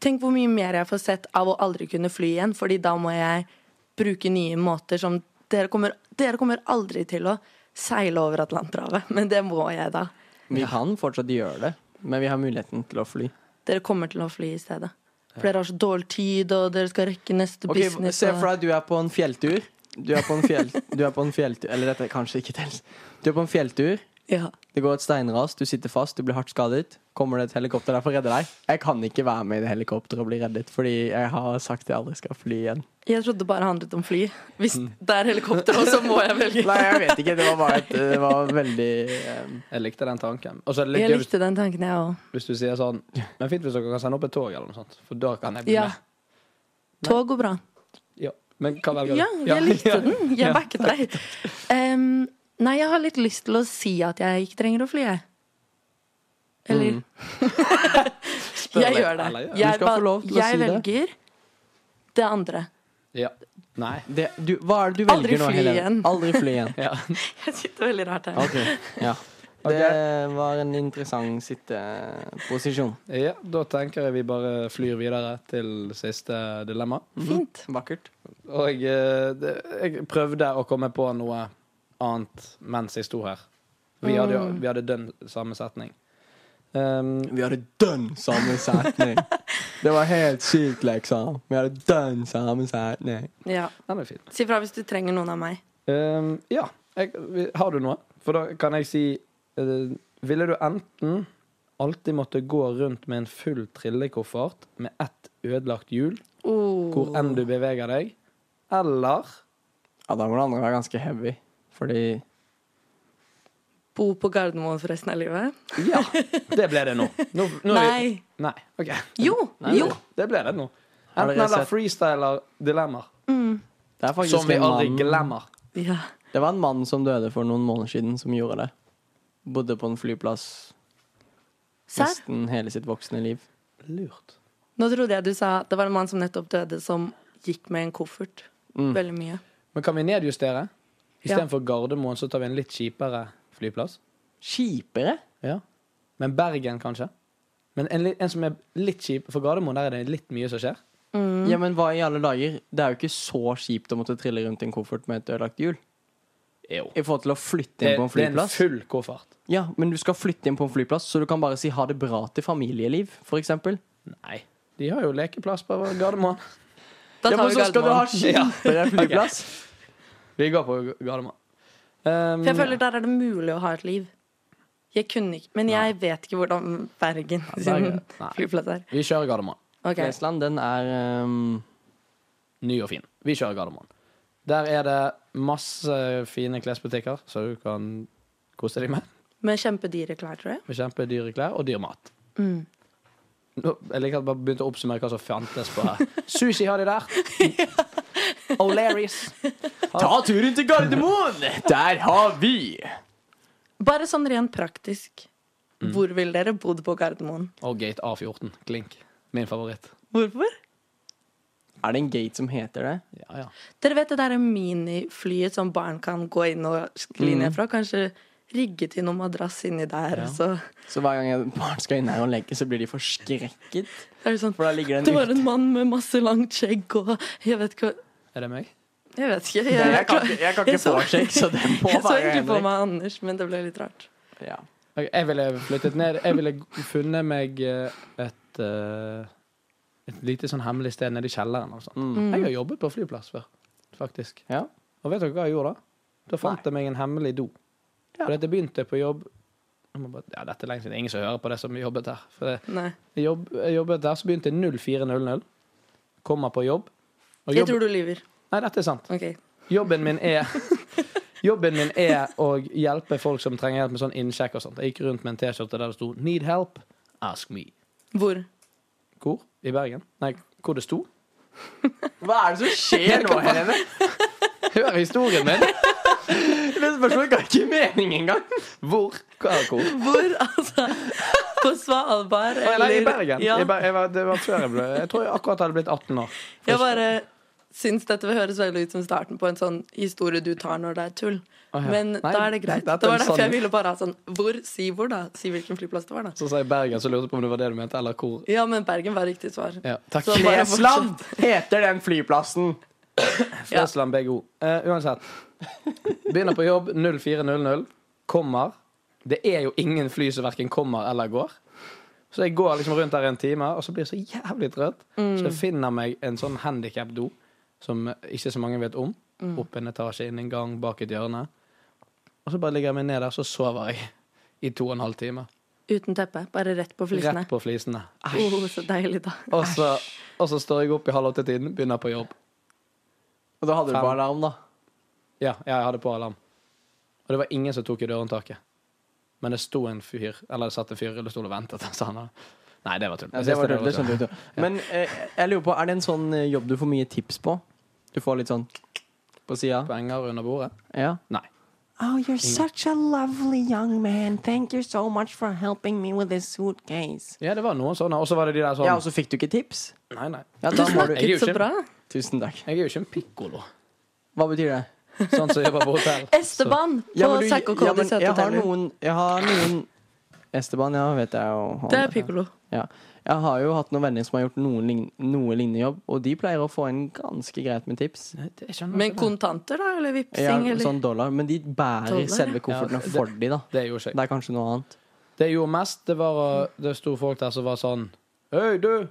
Speaker 4: tenk hvor mye mer jeg får sett av å aldri kunne fly igjen, fordi da må jeg bruke nye måter som Dere kommer, dere kommer aldri til å seile over Atlanterhavet, men det må jeg da.
Speaker 5: Vi kan fortsatt gjøre det, men vi har muligheten til å fly.
Speaker 4: Dere kommer til å fly i stedet. For dere har så dårlig tid, og dere skal rekke neste
Speaker 5: Ok,
Speaker 4: business.
Speaker 5: Se
Speaker 4: og-
Speaker 5: for deg at du er på en fjelltur. Du er på en, fjell, du er på en fjelltur Eller dette er kanskje ikke tels. Du er på en fjelltur.
Speaker 4: Ja.
Speaker 5: Det går et steinras, du sitter fast, du blir hardt skadet. Kommer det et helikopter der for å redde deg? Jeg kan ikke være med i det helikopteret og bli reddet, fordi jeg har sagt jeg aldri skal fly igjen.
Speaker 4: Jeg trodde det bare handlet om fly. Hvis det er helikopter, også, så må jeg velge.
Speaker 5: Mm. Nei, jeg vet ikke. Det var bare et Det var veldig eh,
Speaker 2: Jeg likte den tanken. Og så er det
Speaker 4: Jeg
Speaker 2: litt gøy hvis,
Speaker 4: likte den tanken, jeg òg.
Speaker 2: hvis du sier sånn Men fint hvis dere kan sende opp et tog, eller noe sånt, for da kan jeg bli
Speaker 4: Ja.
Speaker 2: med.
Speaker 4: Tog går bra.
Speaker 2: Ja. Men hva velger du?
Speaker 4: Ja, jeg likte den. Jeg backet deg. Em, nei, jeg har litt lyst til å si at jeg ikke trenger å fly, jeg. Eller Jeg
Speaker 2: litt,
Speaker 4: gjør
Speaker 2: eller
Speaker 4: det.
Speaker 2: gjør det.
Speaker 5: Du
Speaker 4: Jeg,
Speaker 5: skal få lov
Speaker 4: ba-
Speaker 5: til å
Speaker 4: jeg
Speaker 5: si det.
Speaker 4: velger det andre.
Speaker 2: Ja. Nei.
Speaker 5: det, du, Hva er det du
Speaker 4: Aldri
Speaker 5: velger nå,
Speaker 4: fly
Speaker 5: Helene?
Speaker 4: igjen.
Speaker 5: Aldri fly igjen.
Speaker 2: Ja.
Speaker 4: Jeg sitter veldig rart her.
Speaker 5: Ok, ja. Det var en interessant sitteposisjon.
Speaker 2: ja. Da tenker jeg vi bare flyr videre til siste dilemma.
Speaker 4: Fint.
Speaker 5: Vakkert.
Speaker 2: Og eh, det, jeg prøvde å komme på noe annet mens jeg sto her. Vi hadde,
Speaker 4: Mm.
Speaker 2: jo- vi hadde den samme setning. Um,
Speaker 5: Vi hadde dønn samme setning. Det var helt sykt, liksom. Vi hadde dønn samme setning.
Speaker 4: Ja.
Speaker 2: den er fin.
Speaker 4: Si fra hvis du trenger noen av meg.
Speaker 2: Um, ja. Jeg, vi- har du noe? For da kan jeg si eh, Ville du enten alltid måtte gå rundt med en full trillekoffert med ett ødelagt hjul
Speaker 4: Oh.
Speaker 2: hvor enn du beveger deg, eller
Speaker 5: Ja, da må det andre være ganske heavy. Fordi
Speaker 4: Bo på Gardermoen for resten av livet?
Speaker 2: Ja, det ble det nå. nå, nå er vi-
Speaker 4: Nei.
Speaker 2: Nei. OK.
Speaker 4: Jo!
Speaker 2: Nei,
Speaker 4: Jo!
Speaker 2: Det ble det nå.
Speaker 5: Har dere
Speaker 2: Enten eller
Speaker 5: sett-
Speaker 2: freestyler dilemmaer.
Speaker 5: det er faktisk
Speaker 2: Som vi
Speaker 5: en
Speaker 2: aldri
Speaker 5: mann-
Speaker 2: glemmer.
Speaker 4: Mm. Ja.
Speaker 5: Det var en mann som døde for noen måneder siden, som gjorde det. Bodde på en flyplass
Speaker 4: Serr?
Speaker 5: nesten hele sitt voksne liv.
Speaker 2: Lurt.
Speaker 4: Nå trodde jeg du sa det var en mann som nettopp døde, som gikk med en koffert.
Speaker 5: Mm.
Speaker 4: Veldig mye.
Speaker 2: Men kan vi nedjustere?
Speaker 4: Ja.
Speaker 2: Istedenfor Gardermoen så tar vi en litt kjipere flyplass.
Speaker 5: Kjipere?
Speaker 2: Ja. Men Bergen, kanskje? Men en, li- en som er litt kjip, for Gardermoen der er det litt mye som skjer.
Speaker 4: Mm.
Speaker 2: Mm.
Speaker 5: Ja, men hva i alle dager? Det er jo ikke så kjipt å måtte trille rundt i en koffert med et ødelagt hjul.
Speaker 2: Jo.
Speaker 5: I forhold til å flytte
Speaker 2: Det,
Speaker 5: inn på en
Speaker 2: det er en
Speaker 5: flyplass.
Speaker 2: full koffert.
Speaker 5: Ja, men du skal flytte inn på en flyplass, så du kan bare si ha det bra til familieliv, for eksempel.
Speaker 2: Nei. De har jo lekeplass på Gardermoen.
Speaker 4: Da
Speaker 5: Ja,
Speaker 4: tar
Speaker 5: men
Speaker 4: vi
Speaker 5: så skal du ha
Speaker 4: Gardermoen.
Speaker 5: kjipere flyplass.
Speaker 2: Vi går på Gardermoen. Um,
Speaker 4: For jeg føler der er det mulig å ha et liv. Jeg kunne ikke Men jeg vet ikke hvordan Bergen sin
Speaker 2: Bergen- nei.
Speaker 4: flyplass er.
Speaker 2: Vi kjører Gardermoen.
Speaker 4: Ok.
Speaker 5: Flesland, den er ehm,
Speaker 2: Ny og fin. Vi kjører Gardermoen. Der er det masse fine klesbutikker som du kan kose deg med.
Speaker 4: Med kjempedyre klær, tror jeg.
Speaker 2: Med kjempedyre klær og dyr mat.
Speaker 4: Mm.
Speaker 2: Nå, jeg liker at jeg bare begynte å oppsummere hva som fantes på her. Sushi har de der. O'Learys.
Speaker 5: Ta turen til Gardermoen! Der har vi!
Speaker 4: Bare sånn rent praktisk. Hvor ville dere bodd på Gardermoen?
Speaker 2: Og Gate A14. Klink. Min favoritt.
Speaker 4: Hvorfor?
Speaker 5: Er det en gate som heter det?
Speaker 2: Ja, ja.
Speaker 4: Mm. Dere vet det der miniflyet som barn kan gå inn og skli ned fra? Kanskje rigge til noen madrass inni der. Og så
Speaker 5: Så hver gang et barn skal inn her og legge, så blir de forskrekket.
Speaker 4: er det sånn
Speaker 5: For da ligger
Speaker 4: Det
Speaker 5: det en
Speaker 4: var en mann med masse langt skjegg og Jeg vet ikke hva
Speaker 2: Er det meg?
Speaker 4: Jeg vet ikke. Jeg,
Speaker 5: Jeg kan
Speaker 4: jeg,
Speaker 5: ikke, jeg kan ikke
Speaker 4: så-
Speaker 5: påsjekke, så det må
Speaker 4: så
Speaker 5: være
Speaker 4: egentlig på
Speaker 5: Henrik.
Speaker 4: meg Anders, men det ble litt rart.
Speaker 5: Ja.
Speaker 2: Ok, Jeg ville flyttet ned. Jeg ville funnet meg eh, et eh, Et lite sånn hemmelig sted nede i kjelleren. altså. Og sånt.
Speaker 5: Mm.
Speaker 2: Jeg har jobbet på flyplass før, faktisk.
Speaker 5: Ja.
Speaker 2: Og vet dere hva jeg gjorde da? Da fant
Speaker 5: Nei.
Speaker 2: jeg meg en hemmelig do.
Speaker 5: Ja.
Speaker 2: For dette begynte jeg på jobb jeg må bare, ja, Dette er lenge siden. Ingen som hører på det som jobbet der. For det,
Speaker 4: Nei.
Speaker 2: jeg, jobb, jeg jobbet der, så begynte jeg 04.00. Kommer på jobb. Og
Speaker 4: Jeg
Speaker 2: jobb
Speaker 4: tror du lyver.
Speaker 2: Nei, dette er sant.
Speaker 4: Ok.
Speaker 2: Jobben min er Jobben min er å hjelpe folk som trenger hjelp med sånn innsjekk og sånt. Jeg gikk rundt med en T-skjorte der det sto 'Need help? Ask me'.
Speaker 4: Hvor?
Speaker 2: Hvor? I Bergen? Nei, hvor det sto?
Speaker 5: Hva er det som skjer nå, Helene?
Speaker 2: Hør historien min!
Speaker 5: Det spørsmålet ga ikke mening engang.
Speaker 2: Hvor? Hva er hvor?
Speaker 4: Hvor, altså? På Svalbard?
Speaker 2: Nei, I
Speaker 4: eller-
Speaker 2: Bergen.
Speaker 4: Ja.
Speaker 2: I Ber jeg var, det var før jeg ble Jeg tror jeg akkurat hadde blitt 18 år.
Speaker 4: Jeg bare syns dette høres veldig ut som starten på en sånn historie du tar når det er tull.
Speaker 2: Å, ja.
Speaker 4: Men
Speaker 2: Nei,
Speaker 4: da er det greit.
Speaker 2: dette er
Speaker 4: Det var
Speaker 2: en
Speaker 4: derfor jeg
Speaker 2: sann-
Speaker 4: ville bare ha sånn Hvor? Si hvor, da. Si hvilken flyplass det var, da.
Speaker 2: Så sa jeg Bergen, så lurte jeg på om det var det du mente, eller hvor.
Speaker 4: Ja, men Bergen var riktig svar.
Speaker 2: Ja, takk.
Speaker 4: Så bare fortsett.
Speaker 5: Flesland heter den flyplassen.
Speaker 4: Ja.
Speaker 2: Flesland BGO. Eh, uansett. Begynner på jobb 04.00. Kommer. Det er jo ingen fly som verken kommer eller går. Så jeg går liksom rundt der en time, og så blir jeg så jævlig trøtt. Så
Speaker 4: Mm.
Speaker 2: jeg finner meg en sånn handikap-do som ikke så mange vet om.
Speaker 4: Mm.
Speaker 2: Opp en etasje, inn en gang, bak et hjørne. Og så bare ligger jeg meg ned der, så sover jeg i to og en halv time.
Speaker 4: Uten teppe. Bare rett på flisene.
Speaker 2: Rett på flisene.
Speaker 4: Oh, så deilig, da.
Speaker 2: Og så, og så står jeg opp i halv åtte-tiden, begynner på jobb.
Speaker 5: Og da hadde du på alarm, da.
Speaker 2: Ja, ja, jeg hadde på alarm. Og det var ingen som tok i dørhåndtaket. Men det sto en fyr, eller det satt en fyr i rullestol og ventet. Så han hadde- Nei, det var tull.
Speaker 5: Ja,
Speaker 2: Jeg
Speaker 5: det
Speaker 2: synes
Speaker 5: var tydelig,
Speaker 2: tull.
Speaker 5: skjønte du. Men eh, jeg lurer på, er det en sånn eh, jobb du får mye tips på? Du får litt sånn på sida?
Speaker 2: Penger under bordet?
Speaker 5: Ja.
Speaker 2: Nei.
Speaker 6: Oh, you're such a lovely young man. Thank you so much for helping me with this suitcase.
Speaker 2: Ja, det var noen sånne. Og så var det de der sånn
Speaker 5: ja, og så fikk du ikke tips?
Speaker 2: Nei, nei.
Speaker 5: Ja,
Speaker 4: Du
Speaker 5: da må du
Speaker 2: Jeg er jo
Speaker 4: snakket så
Speaker 2: ikke-
Speaker 4: bra.
Speaker 5: Tusen takk.
Speaker 2: Jeg er jo ikke en pikkolo,
Speaker 5: Hva betyr det?
Speaker 2: sånn som jobber på hotell.
Speaker 4: Esteban
Speaker 5: Ja,
Speaker 4: på
Speaker 5: men du-
Speaker 4: Sack og
Speaker 5: ja,
Speaker 4: Cody
Speaker 5: men jeg har
Speaker 4: Søteteller.
Speaker 5: noen, jeg har noen Esteban, ja, vet jeg jo. han-
Speaker 4: Det er pikkolo.
Speaker 5: Ja. Jeg har jo hatt noen venner som har gjort noen lign- noe lignende jobb, og de pleier å få en ganske greit med tips.
Speaker 2: Det- jeg skjønner
Speaker 4: Men
Speaker 2: ikke det.
Speaker 4: kontanter, da? Eller
Speaker 5: Ja,
Speaker 4: vippsing? eller?
Speaker 5: sånn dollar, men de bærer
Speaker 4: Dollar, ja.
Speaker 5: selve kofferten
Speaker 2: Ja,
Speaker 5: og
Speaker 2: det-
Speaker 5: for de, da.
Speaker 2: Det gjorde ikke jeg.
Speaker 5: Det er kanskje noe annet.
Speaker 2: Det jeg gjorde mest, det var uh, Det sto folk der som var sånn Hei, du!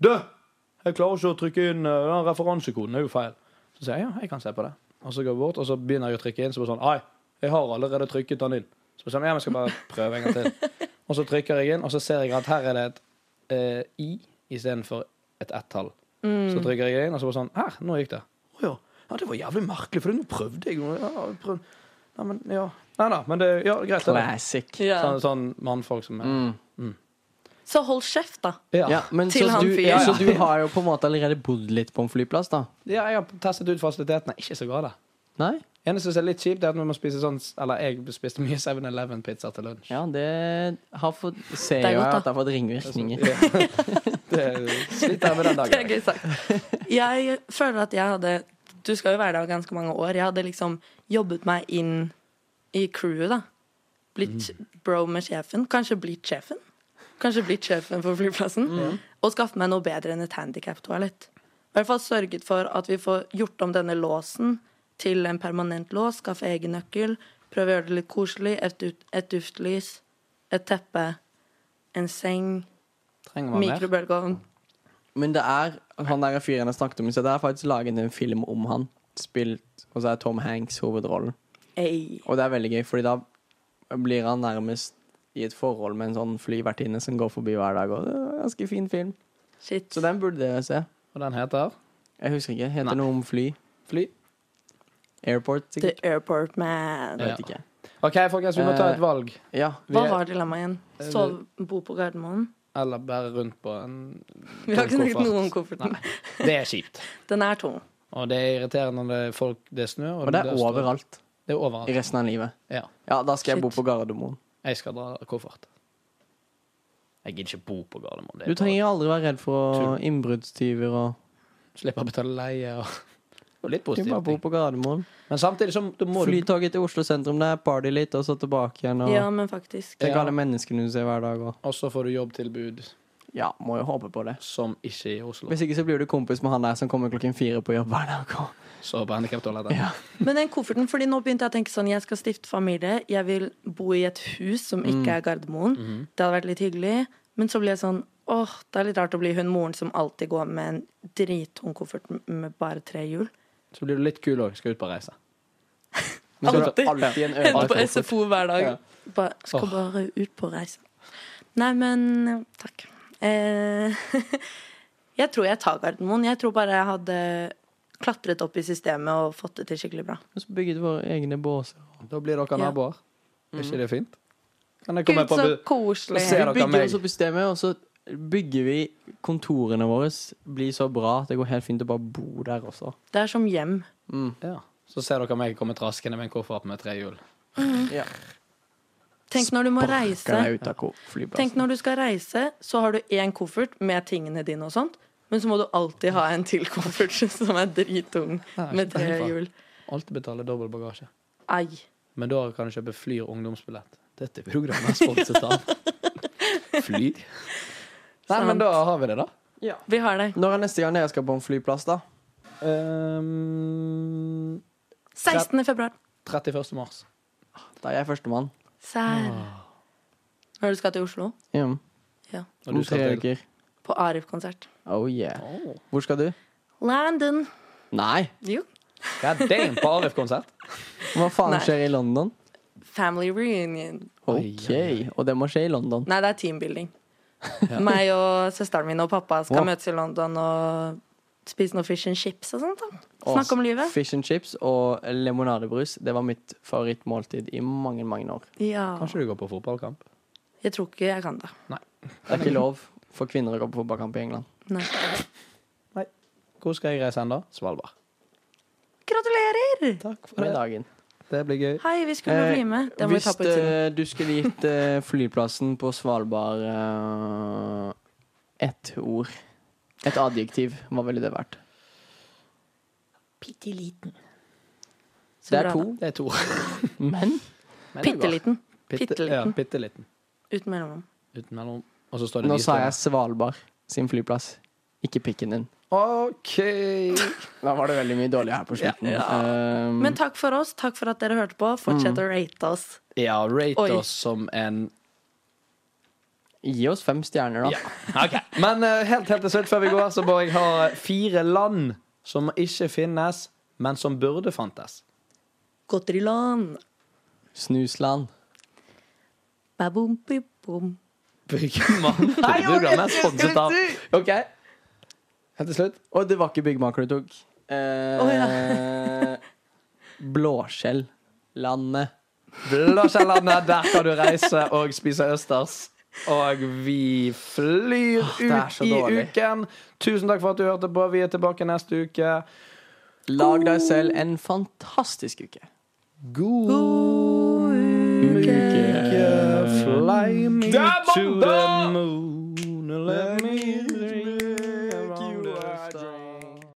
Speaker 2: Du! Jeg klarer ikke å trykke inn uh, den referansekoden. Det er jo feil. Så sier jeg ja, jeg kan se på det. Og så går jeg bort, og så begynner jeg å trykke inn. Så bare sånn Ai, jeg har allerede trykket den inn. Så bare sånn, ja, men jeg skal bare prøve en gang til. Og så trykker jeg inn, og så ser jeg at her er det et eh, i istedenfor et ett-tall. Så trykker jeg inn, og så bare sånn Her, nå gikk det. Å ja. Ja, det var jævlig merkelig, for nå prøvde jeg. jo. Ja, jeg prøvde. Nei, men ja. Nei da, men det Ja, greit. det er det.
Speaker 5: Classic.
Speaker 4: Ja.
Speaker 2: Sånn, sånn mannfolk som er
Speaker 5: Mm.
Speaker 4: Så hold kjeft, da.
Speaker 2: Ja.
Speaker 5: Ja, men
Speaker 4: Til
Speaker 5: så
Speaker 4: han
Speaker 5: du,
Speaker 4: fyren.
Speaker 5: så du har jo på en måte allerede bodd litt på en flyplass, da?
Speaker 2: ja, jeg har testet ut fasilitetene. Ikke så gale.
Speaker 5: Nei?
Speaker 2: Eneste som er litt kjipt, er at vi må spise sånn Eller jeg spiste mye 7-Eleven-pizza til lunsj.
Speaker 5: Ja, det har fått Ser
Speaker 4: Det er
Speaker 5: jo
Speaker 4: godt,
Speaker 5: jeg
Speaker 4: da.
Speaker 5: at det har fått ringvirkninger.
Speaker 2: Det sliter jeg med den
Speaker 4: Det er
Speaker 2: dagen.
Speaker 4: gøy sagt. Jeg føler at jeg hadde Du skal jo være der ganske mange år. Jeg hadde liksom jobbet meg inn i crewet, da. Blitt bro med sjefen. Kanskje blitt sjefen. Kanskje blitt sjefen for flyplassen. Og skaffet meg noe bedre enn et handikap-toalett. I hvert fall sørget for at vi får gjort om denne låsen til en permanent lås. Skaffe egen nøkkel. Prøve å gjøre det litt koselig. Et, ut- et duftlys. Et teppe. En seng.
Speaker 2: Trenger man mer?
Speaker 4: Mikrobølgeovn.
Speaker 5: Men det er han der fyren jeg snakket om i sted, det er faktisk laget en film om han. Spilt, og så er Tom Hanks hovedrollen.
Speaker 4: Ei.
Speaker 5: Og det er veldig gøy, fordi da blir han nærmest i et forhold med en sånn flyvertinne som går forbi hver dag. Og det er en ganske fin film.
Speaker 4: Shit.
Speaker 5: Så den burde dere se.
Speaker 2: Og den heter
Speaker 5: Jeg husker ikke. Heter
Speaker 2: Nei.
Speaker 5: noe om fly?
Speaker 2: Fly.
Speaker 5: Airport,
Speaker 4: The
Speaker 5: sikkert?
Speaker 4: Airport Man.
Speaker 5: Jeg vet
Speaker 2: Ja.
Speaker 5: ikke.
Speaker 2: OK, folkens, vi må ta
Speaker 5: Eh.
Speaker 2: et valg.
Speaker 5: Ja.
Speaker 2: Vi
Speaker 4: Hva
Speaker 2: er,
Speaker 4: var dilemmaet igjen?
Speaker 2: Eh,
Speaker 4: Sov, bo på Gardermoen?
Speaker 2: eller bære rundt på en
Speaker 4: Vi har ikke
Speaker 2: tung
Speaker 4: snakket
Speaker 2: koffert.
Speaker 4: noe om kofferten.
Speaker 2: Det er kjipt.
Speaker 4: Den er tung.
Speaker 2: Og det er irriterende når det er folk Det er snø.
Speaker 5: Og det er
Speaker 2: står-
Speaker 5: overalt
Speaker 2: Det er overalt.
Speaker 5: i resten av livet.
Speaker 2: Ja.
Speaker 5: Ja, da skal jeg bo
Speaker 4: Shit.
Speaker 5: på Gardermoen.
Speaker 2: Jeg skal dra koffert. Jeg gidder ikke bo på Gardermoen. Det
Speaker 5: Du
Speaker 2: er bare-
Speaker 5: trenger aldri være redd for innbruddstyver og
Speaker 2: Slipper å betale leie og Litt
Speaker 5: Du
Speaker 2: positivt.
Speaker 5: bare bor på Gardermoen.
Speaker 2: Men samtidig så da må du
Speaker 5: Flytoget til Oslo sentrum der, party litt, og så tilbake igjen. Og
Speaker 4: Ja, men faktisk.
Speaker 5: Tenk
Speaker 2: Ja.
Speaker 5: alle menneskene du ser hver dag. Og.
Speaker 2: Og så får du jobbtilbud
Speaker 5: Ja, må jo håpe på det.
Speaker 2: som ikke er i Oslo.
Speaker 5: Hvis ikke så blir du kompis med han der som kommer klokken fire på jobb hver dag. og-
Speaker 2: Så på handikaptoalettet.
Speaker 5: Ja.
Speaker 4: Men den kofferten, fordi nå begynte jeg å tenke sånn Jeg skal stifte familie, jeg vil bo i et hus som ikke er Gardermoen.
Speaker 2: Mhm.
Speaker 4: Det hadde vært litt hyggelig. Men så ble jeg sånn Åh, det er litt rart å bli hun moren som alltid går med en drittung koffert med bare tre hjul.
Speaker 2: Så blir du litt kul òg, skal ut på reise.
Speaker 5: Men så er
Speaker 4: Alltid.
Speaker 5: det alltid en
Speaker 4: Henne
Speaker 5: øvelse.
Speaker 4: på SFO hver dag.
Speaker 5: Ja.
Speaker 4: Bare, skal
Speaker 2: Åh.
Speaker 4: bare ut på reise. Nei, men eh, Takk. Eh, jeg tror jeg tar Gardermoen. Jeg tror bare jeg hadde klatret opp i systemet og fått det til skikkelig bra.
Speaker 5: Og så bygget våre egne båser.
Speaker 2: Da blir dere
Speaker 4: Ja.
Speaker 2: naboer. Er ikke det fint? Kan jeg komme
Speaker 4: Gud,
Speaker 2: på
Speaker 4: så
Speaker 2: bu-
Speaker 4: koselig.
Speaker 2: Ser dere
Speaker 5: vi bygger
Speaker 2: meg?
Speaker 5: oss opp i systemet, og så bygger vi kontorene våre. Blir så bra at det går helt fint å bare bo der også.
Speaker 4: Det er som hjem.
Speaker 2: ja. Så ser dere meg komme traskende med en koffert med tre hjul.
Speaker 5: Ja.
Speaker 4: Tenk når du må reise.
Speaker 5: Kan jeg ut av ko-
Speaker 2: altså.
Speaker 4: Tenk
Speaker 5: flyplassen.
Speaker 4: når du skal reise, så har du én koffert med tingene dine og sånt. Men så må du alltid ha en til koffert som er drittung,
Speaker 2: Ja,
Speaker 4: med
Speaker 2: ikke
Speaker 4: tre
Speaker 2: peiling på.
Speaker 4: hjul.
Speaker 2: Alltid betale dobbel bagasje.
Speaker 4: Ei.
Speaker 2: Men da kan du kjøpe Flyr ungdomsbillett. Dette programmet er sponset av Flyr. Nei, men da har vi det, da.
Speaker 4: Vi har det.
Speaker 5: Når er neste gang dere skal på en flyplass, da?
Speaker 2: Ehm,
Speaker 4: 16. februar.
Speaker 2: 31. mars.
Speaker 5: Da er jeg førstemann.
Speaker 4: Sær. Når du skal til Oslo?
Speaker 5: Hjem.
Speaker 2: Og
Speaker 5: Om
Speaker 2: du skal
Speaker 5: tre
Speaker 2: til
Speaker 5: uker.
Speaker 4: På Arif-konsert.
Speaker 5: Oh yeah. Hvor skal du?
Speaker 4: London.
Speaker 5: Nei!
Speaker 4: Jo.
Speaker 2: God damn, på ARF-konsert.
Speaker 5: Hva faen
Speaker 4: Nei.
Speaker 5: skjer i London?
Speaker 4: Family reunion.
Speaker 5: OK. Og det må skje i London.
Speaker 4: Nei, det er teambuilding. Meg og søsteren min og pappa skal
Speaker 5: Wow.
Speaker 4: møtes i London og spise noe fish and chips og sånt. da.
Speaker 5: Og
Speaker 4: Snakke om livet.
Speaker 5: Fish and chips og limonadebrus. Det var mitt favorittmåltid i mange, mange år.
Speaker 4: Ja.
Speaker 2: Kanskje du går på fotballkamp?
Speaker 4: Jeg tror ikke jeg kan det.
Speaker 5: Det er ikke lov for kvinner å gå på fotballkamp i England.
Speaker 4: Nei.
Speaker 2: Hvor skal jeg reise hen, da? Svalbard.
Speaker 4: Gratulerer!
Speaker 2: Takk for
Speaker 5: Med
Speaker 2: det.
Speaker 5: dagen.
Speaker 2: Det blir gøy.
Speaker 4: Hei, vi skulle
Speaker 5: Eh,
Speaker 4: bli med. Det må vi
Speaker 5: Hvis
Speaker 4: ta på utsiden.
Speaker 5: eh, du skulle gitt eh, flyplassen på Svalbard eh, ett ord, et adjektiv, hva ville det vært?
Speaker 1: Bitte liten.
Speaker 4: Så
Speaker 5: Det er
Speaker 4: bra,
Speaker 5: to,
Speaker 2: Det er to.
Speaker 5: men
Speaker 4: da. Pitteliten.
Speaker 2: Pitte,
Speaker 4: Pitteliten.
Speaker 2: ja, pitteliten.
Speaker 4: Uten mellomrom.
Speaker 2: Uten mellom. Og så står det
Speaker 5: nå
Speaker 2: lite.
Speaker 5: sa jeg Svalbard sin flyplass, ikke pikken din.
Speaker 2: OK.
Speaker 5: Da var det veldig mye dårlig her på slutten. Eh,
Speaker 4: Men takk for oss. Takk for at dere hørte på. Fortsett
Speaker 5: Mm.
Speaker 4: å rate oss.
Speaker 2: Ja, rate
Speaker 4: Oi.
Speaker 2: oss som en
Speaker 5: gi oss fem stjerner, da.
Speaker 3: Ah,
Speaker 2: Men eh, helt, helt til slutt før vi går, så må jeg ha eh, fire land som ikke finnes, men som burde fantes.
Speaker 4: Godteriland.
Speaker 5: Snusland.
Speaker 4: Babum, bibum.
Speaker 2: Byggmann. Programmet er sponset av OK. Helt til slutt.
Speaker 5: Og det var ikke byggmaker du tok. Eh, Blåskjellandet.
Speaker 2: Blåskjellandet, der kan du reise og spise østers. Og vi flyr
Speaker 5: det er
Speaker 2: ut
Speaker 5: så
Speaker 2: i
Speaker 5: dårlig.
Speaker 2: uken. Tusen takk for at du hørte på. Vi er tilbake neste uke.
Speaker 5: Lag deg selv en fantastisk uke.
Speaker 2: God uke. Fly me to the moon. Let me